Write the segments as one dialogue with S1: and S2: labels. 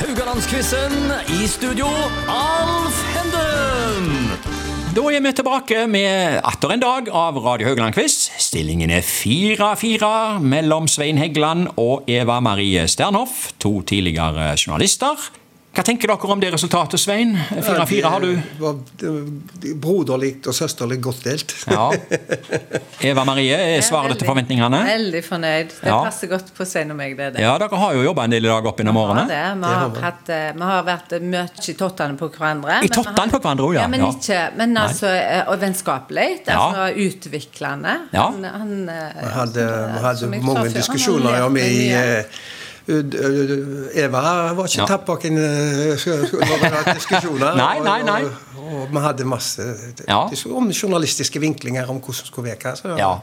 S1: Haugalandsquizen i studio, Alf Henden!
S2: Da er vi tilbake med atter en dag av Radio Haugland-quiz. Stillingen er 4-4 mellom Svein Heggeland og Eva Marie Sternhoff, to tidligere journalister. Hva tenker dere om det resultatet, Svein? 4-4 har du.
S3: Det var- det var Broderlig og søsterlig godt delt.
S2: Ja. Eva Marie, er
S4: Jeg er
S2: svaret til
S4: veldig-
S2: forventningene?
S4: Veldig fornøyd. Det
S2: Ja.
S4: passer godt på Svein og meg, det er det.
S2: Ja, dere har jo jobba en del i dag opp gjennom
S4: Ja,
S2: årene.
S4: det. Vi,
S3: har
S4: har
S3: vi.
S4: hatt, eh, vi har vært mye i tottene på hverandre. men vi
S2: tottene
S4: har-
S2: på hverandre også, ja.
S4: ja men,
S2: Ja.
S4: Ikke, men altså, eh, og vennskapelig.
S2: Ja.
S4: Altså utviklende.
S2: Ja.
S4: Han, han, eh,
S3: Vi hadde, vi hadde
S4: som jeg sa før,
S3: mange
S4: han har
S3: diskusjoner
S4: lært
S3: om
S4: meg
S3: i
S4: mye.
S3: eh, ø- ø- ø- Eva var ikke
S2: Ja.
S3: tappakken eh, sk- sk- når vi hadde diskusjoner.
S2: Nei, nei, nei.
S3: Og, og, og vi hadde masse
S2: Ja.
S3: dis- om journalistiske vinklinger om hvordan det skulle virke. Så det var
S2: Ja.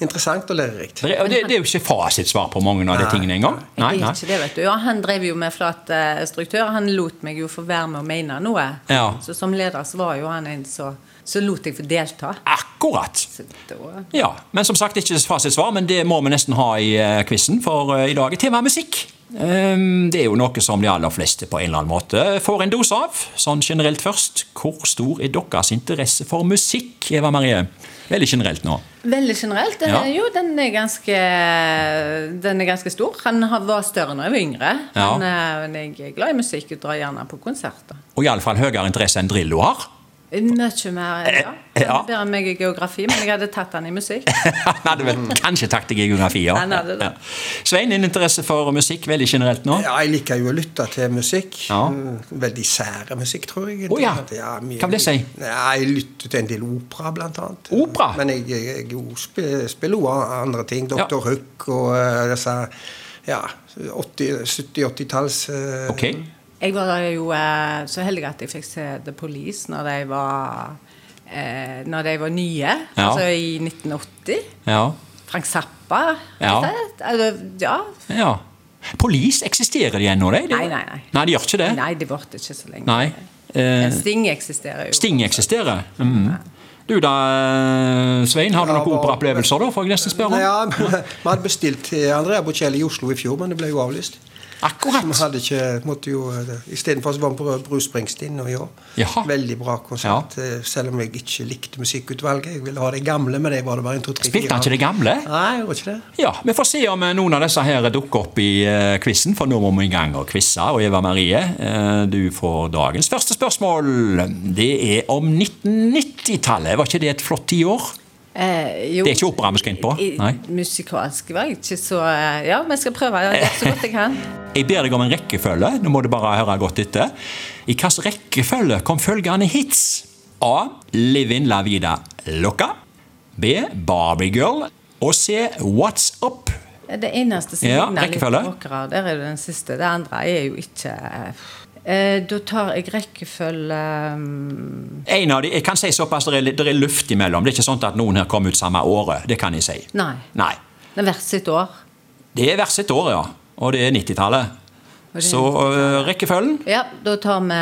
S3: Interessant og lærerikt.
S2: Det, det, det er jo ikke fasitsvar på mange av de tingene engang. Nei,
S4: Jeg er
S2: nei.
S4: ikke det, vet du. Ja, han drev jo med flat eh, struktur. Han lot meg jo få være med og mene noe.
S2: Ja.
S4: Så som leder så var jo han en som så lot jeg få delta.
S2: Akkurat.
S4: Så da
S2: Ja, men som sagt ikke fasitsvar, men det må vi nesten ha i quizen, for eh, i dag er temaet musikk. Ehm, Det er jo noe som de aller fleste på en eller annen måte får en dose av. Sånn generelt først, hvor stor er deres interesse for musikk, Eva Marie? Veldig generelt nå.
S4: Veldig generelt. Den,
S2: Ja.
S4: Jo, den er ganske Den er ganske stor. Han har- var større når jeg var yngre.
S2: Ja.
S4: Men, eh, Men jeg er glad i musikk og drar gjerne på konserter.
S2: Og iallfall høyere interesse enn Drillo har.
S4: Mye mer, ja.
S2: Eh, ja.
S4: Han ber meg i geografi, men jeg hadde tatt han i musikk.
S2: Han hadde vel kanskje tatt deg i geografi, ja.
S4: Han hadde det.
S2: Ja. Svein, din interesse for musikk veldig generelt nå?
S3: Ja, jeg liker jo å lytte til musikk.
S2: Ja.
S3: Mm, Veldig sære musikk, tror jeg.
S2: Å ja.
S3: mye-
S2: Hva vil det si?
S3: Ja, jeg lytter til en del opera, blant annet.
S2: Opera?
S3: Men jeg, jeg, jeg jo sp- spiller jo andre ting. Dr.
S2: Ja.
S3: Hook og eh, disse ja, 80-, 70-80-talls eh,
S2: Ok.
S4: Jeg var jo eh, så heldig at jeg fikk se The Police når de var eh, Når de var nye,
S2: Ja.
S4: altså i 1980.
S2: Ja.
S4: Frank Zappa.
S2: Ja.
S4: rett og slett. ja.
S2: ja. Police, eksisterer de ennå, de?
S4: Nei, nei, nei.
S2: Nei, de gjør ikke det?
S4: Nei, de varte ikke så lenge.
S2: Nei. Eh,
S4: Men Sting eksisterer jo.
S2: Sting eksisterer. Mhm. Du da, Svein, har du
S3: Ja,
S2: noen
S3: bare-
S2: operaopplevelser, da? Får jeg nesten spørre om?
S3: Ja, vi hadde bestilt til Andrea Bocelli i Oslo i fjor, men det ble jo avlyst.
S2: Ah,
S3: Så vi
S2: Akkurat.
S3: hadde ikke, måtte jo, Istedenfor så var vi på Bruce Springsteen og i år.
S2: Jaha.
S3: Veldig bra konsert, eh, selv om jeg ikke likte musikkutvalget. Jeg ville ha de gamle, men det var det bare en, to, tre,
S2: Spilte han ikke det gamle?
S3: Nei, jeg gjorde ikke det.
S2: Ja, Vi får se om eh, noen av disse her dukker opp i eh, quizen, for nå må vi i gang og quize. Og Eva Marie, eh, du får dagens første spørsmål. Det er om 1990-tallet. Var ikke det et flott tiår?
S4: Eh, jo.
S2: Det er ikke opera vi skal inn på.
S4: I-
S2: Nei.
S4: Musikalsk var jeg ikke så eh, Ja, men jeg skal prøve jeg gjør så godt jeg kan.
S2: Jeg ber deg om en rekkefølge. Nå må du bare høre godt etter. I hvilken rekkefølge kom følgende hits? A. Livin la vida loca. B. Barbie Girl. Og C. What's Up.
S4: Det eneste som
S2: Ja,
S4: ligner litt på
S2: rekkefølge.
S4: rockere, der er det den siste. Det andre er jo ikke eh, Da tar jeg rekkefølge um,
S2: En av de, jeg kan si såpass, det er, litt- det er luft imellom. Det er ikke sånn at noen her kom ut samme året. Det kan jeg si.
S4: Nei.
S2: Nei.
S4: Det er hvert sitt år.
S2: Det er hvert sitt år, ja. Og det er 90-tallet.
S4: det er
S2: Så øh, rekkefølgen
S4: Ja, da tar vi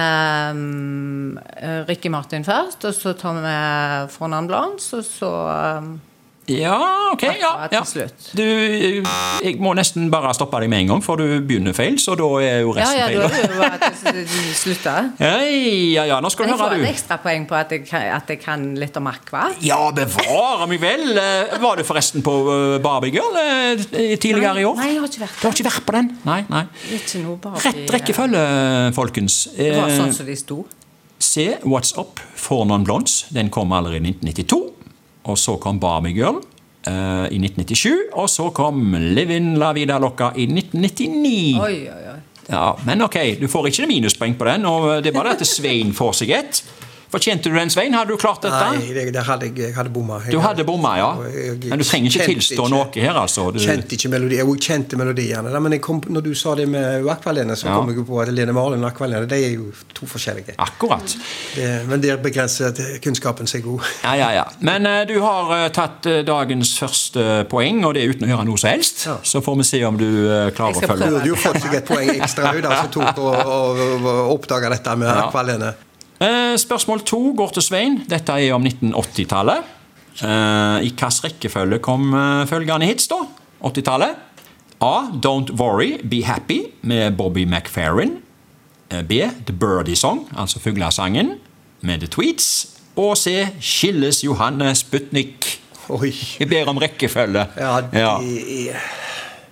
S4: um, eh, Ricky Martin først, og så tar vi Fronan Blans, og så um,
S2: Ja, ok. Ja,
S4: Akkurat til
S2: ja.
S4: slutt.
S2: Du, øh, jeg må nesten bare stoppe deg med en gang, for du begynner feil, så da er jo
S4: Ja,
S2: resten
S4: ja,
S2: feil.
S4: da er det jo bare til du slutter.
S2: Hei, ja, ja, nå skal du
S4: Men jeg får
S2: høre,
S4: et
S2: du.
S4: ekstrapoeng på at jeg, kan- at jeg kan litt om Aqua.
S2: Ja, bevare meg vel! Eh, Var du forresten på eh, Barbie Girl eh, tidligere i år?
S4: Nei, jeg har ikke vært
S2: Du har ikke vært på den? Nei, nei.
S4: Ikke noe bare
S2: Rett rekkefølge, folkens.
S4: Det var
S2: Eh,
S4: sånn som de sto.
S2: Se What's Up for Non Blondes. Den kom allerede i 1992. Og så kom Barbie Girl eh, i 1997. Og så kom Livin La Vida Loca i 1999.
S4: Oi, oi, oi.
S2: Ja, men ok, du får ikke minuspoeng på den, og det er bare dette Svein får seg et. Fortjente du den, Svein? Hadde du klart dette?
S3: Nei, det, det hadde jeg, jeg hadde bomma. Jeg
S2: Du hadde bomma, ja.
S3: Og jeg- jeg
S2: Men du trenger ikke
S3: kjente
S2: tilstå
S3: ikke-
S2: noe her, altså. Du,
S3: Kjente ikke melodi. Jo, jeg kjente melodiene. da, Men jeg kom, når du sa det med Aqualene, så
S2: Ja.
S3: kom jeg jo på at Lene Marlin og Aqualene det er jo to forskjellige.
S2: akkurat.
S3: Det, men der begrenser det- kunnskapen seg god.
S2: Ja, ja, ja. Men eh, du har eh, tatt eh, dagens første poeng, og det er uten å gjøre noe som helst.
S3: Ja.
S2: Så får vi se om du eh, klarer
S4: Jeg
S2: å
S4: skal
S2: følge
S4: prøve.
S3: Burde jo fått seg et poeng ekstra ut, altså tok og, og, og, oppdaga dette med
S2: Ja.
S3: Aqualene.
S2: Eh, Spørsmål to går til Svein. Dette er om 1980-tallet. Eh, I hvilken rekkefølge kom eh, følgende hits, da? 80-tallet. A. Don't Worry, Be Happy med Bobby McFerrin. eh, B. The Birdie Song, altså fuglesangen, med The Tweets. Og C. Skilles Johanne Sputnik.
S3: Oi.
S2: Jeg ber om rekkefølge.
S3: Ja,
S2: ja.
S3: de,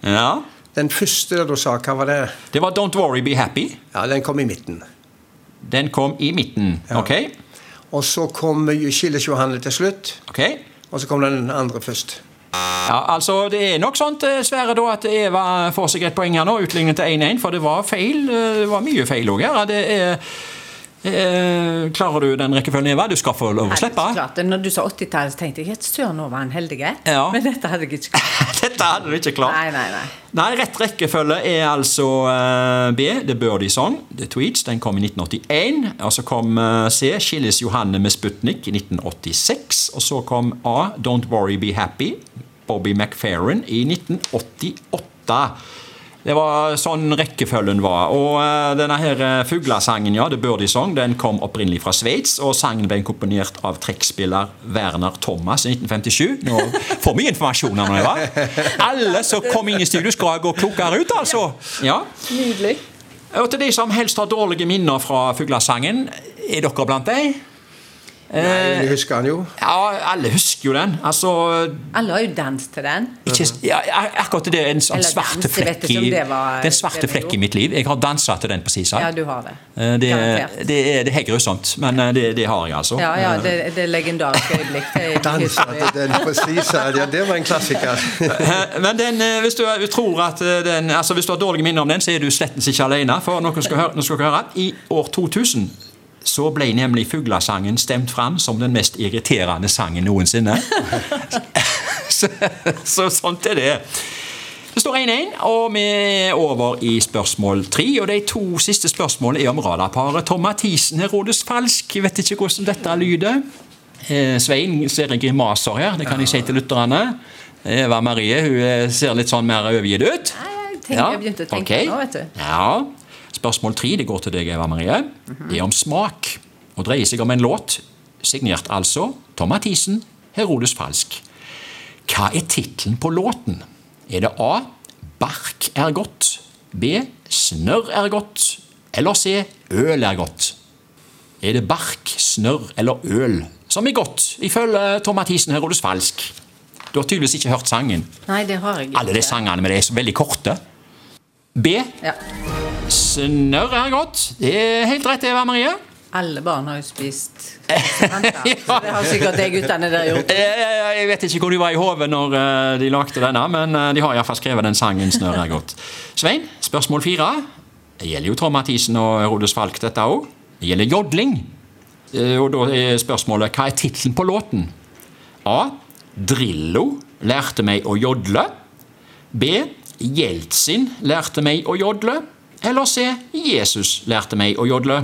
S2: Ja.
S3: Den første der du sa, hva var det?
S2: Det var Don't Worry Be Happy.
S3: Ja, den kom i midten.
S2: Den kom i midten.
S3: Ja.
S2: Ok?
S3: Og så kom jo Skilles Johanne til slutt.
S2: ok?
S3: Og så kom den andre først.
S2: Ja, altså Det er nok sånn dessverre da at Eva får seg et poeng her nå, utlignet til 1-1, for det var feil. eh, Det var mye feil òg her. Det er Eh, klarer du den rekkefølgen, Eva? Du skal få lov å
S4: Nei,
S2: slippe.
S4: så klart. Når du sa 80-tallet, så tenkte jeg at søren, nå var han heldig.
S2: Ja.
S4: Men dette hadde jeg ikke klart.
S2: Dette hadde du ikke klart.
S4: Nei, nei, nei.
S2: Nei, rett rekkefølge er altså eh, B. The Birdie Song. sånn. The Tweets. Den kom i 1981. Og så kom eh, C. Skilles Johanne med Sputnik i 1986. Og så kom A. Don't Worry Be Happy. Bobby McFerrin i 1988. Det var sånn rekkefølgen var. Og eh, denne her eh, fuglesangen, ja, The Birdie Song, den kom opprinnelig fra Sveits. Og sangen ble komponert av trekkspiller Werner Thomas i 1957. Nå får vi informasjon her nå, Eva. Alle som kom inn i studio, skal gå klokere ut, altså. Ja.
S4: Nydelig.
S2: Og til de som helst har dårlige minner fra fuglesangen, er dere blant dem?
S3: Nei, du husker han jo.
S2: Ja, alle husker jo den. Altså,
S4: Alle har jo dans til den.
S2: Ikke, ja, ak- akkurat det er en sånn
S4: Eller
S2: svarte
S4: dans, jeg
S2: flekk
S4: vet
S2: i,
S4: ikke om det var-
S2: det er en svarte
S4: det var
S2: flekk
S4: jo.
S2: i mitt liv. Jeg har dansa til den på Sisa.
S4: Ja,
S2: Eh,
S4: du har det.
S2: Det, er-
S4: Garantert.
S2: det, er, det er helt grusomt, men eh, det, det har jeg altså.
S4: Ja, ja, det, det er legendariske øyeblikk. Det er
S3: Dansa
S4: historie.
S3: til den presise. Ja, det var en klassiker.
S2: Eh, Men den, eh, hvis, du, du tror at eh, den, altså hvis du har dårlige minner om den, så er du slettens ikke alene. For noe skal høre, nå skal dere høre. I år 2000 så ble nemlig fuglesangen stemt fram som den mest irriterende sangen noensinne. så, så sånt er det. Det står 1-1, og vi er over i spørsmål 3. Og de to siste spørsmålene er om radarparet Tom Mathisen Herodes Falsk. Jeg vet ikke hvordan dette lyder. Eh, Svein ser jeg grimaser her, det kan jeg si til lytterne. Eva Marie hun eh, ser litt sånn mer overgitt ut.
S4: Nei, jeg tenker- jeg begynte å tenke
S2: ok.
S4: nå, vet du.
S2: Ja. Spørsmål 3 det går til deg, Eva Marie. Det er om smak, og dreier seg om en låt, signert altså Tom Mathisen Herodes Falsk. Hva er tittelen på låten? Er det A. Bark er godt. B. Snørr er godt. Eller C. Øl er godt. Er det bark, snørr eller øl som er godt, ifølge Tom Mathisen Herodes Falsk? Du har tydeligvis ikke hørt sangen.
S4: Nei, det har jeg ikke.
S2: Alle de sangene men de er så veldig korte. B.
S4: Ja.
S2: Snørr er godt. Det er helt rett, Eva Marie.
S4: Alle barn har jo spist konservanter, så det har sikkert de guttene der gjort.
S2: Eh, Jeg vet ikke hvor de var i hodet når eh, de lagde denne, men eh, de har iallfall skrevet den sangen snør er godt. Svein, spørsmål fire. Det gjelder jo Trond Mathisen og Herodes Falk, dette òg. Det gjelder jodling. Eh, Og da er spørsmålet hva er tittelen på låten? A. Drillo lærte meg å jodle. B. Jeltsin lærte meg å jodle. Eller C. Jesus lærte meg å jodle.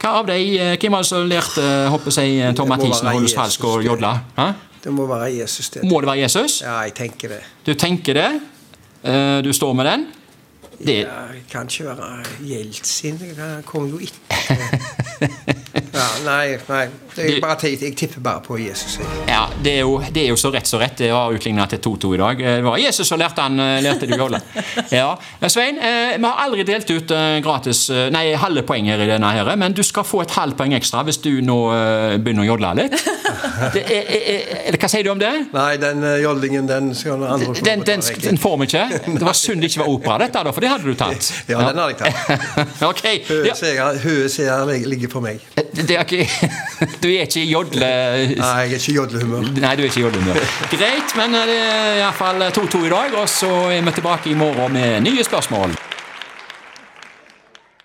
S2: Hva av de, eh, Hvem var det som lærte håper jeg, Tom
S3: Det må
S2: Mathisen
S3: være
S2: og Holdes
S3: Jesus,
S2: Falsk å
S3: det.
S2: jodle? Hæ?
S3: Det må være Jesus, det.
S2: Må det være Jesus?
S3: Ja, jeg tenker det.
S2: Du tenker det. eh, Du står med den. Det,
S3: Ja, det kan ikke være Jeltsin. det kan- Han kom jo ikke ja, Nei, nei. Jeg, bare, tenker- jeg tipper bare på Jesus. Jeg.
S2: ja, det, er jo, det er jo så rett så rett. Det har utligna til 2-2 i dag. Eh, Det var Jesus som lærte han eh, lærte du jodle. Ja. Eh, Svein, eh, vi har aldri delt ut eh, gratis eh, Nei, halve poeng her i denne, her, eh, men du skal få et halvt poeng ekstra hvis du nå eh, begynner å jodle litt. Det, er, er, er, eller hva sier du om det?
S3: Nei, den eh, jollingen, den skal noen andre få
S2: Den, den,
S3: betale, ikke?
S2: den får vi ikke. Det var synd det ikke var opera, dette, da, for det hadde du tatt.
S3: Ja, den hadde jeg tatt.
S2: Ok. Ja.
S3: Høye seere ligger på meg.
S2: Det er ikke, du er ikke i jodle...
S3: Nei, jeg er ikke i jodlehumør.
S2: Nei, du er ikke i jodlen, du. Greit, men det er iallfall 2-2 i dag, og så er vi tilbake i morgen med nye spørsmål.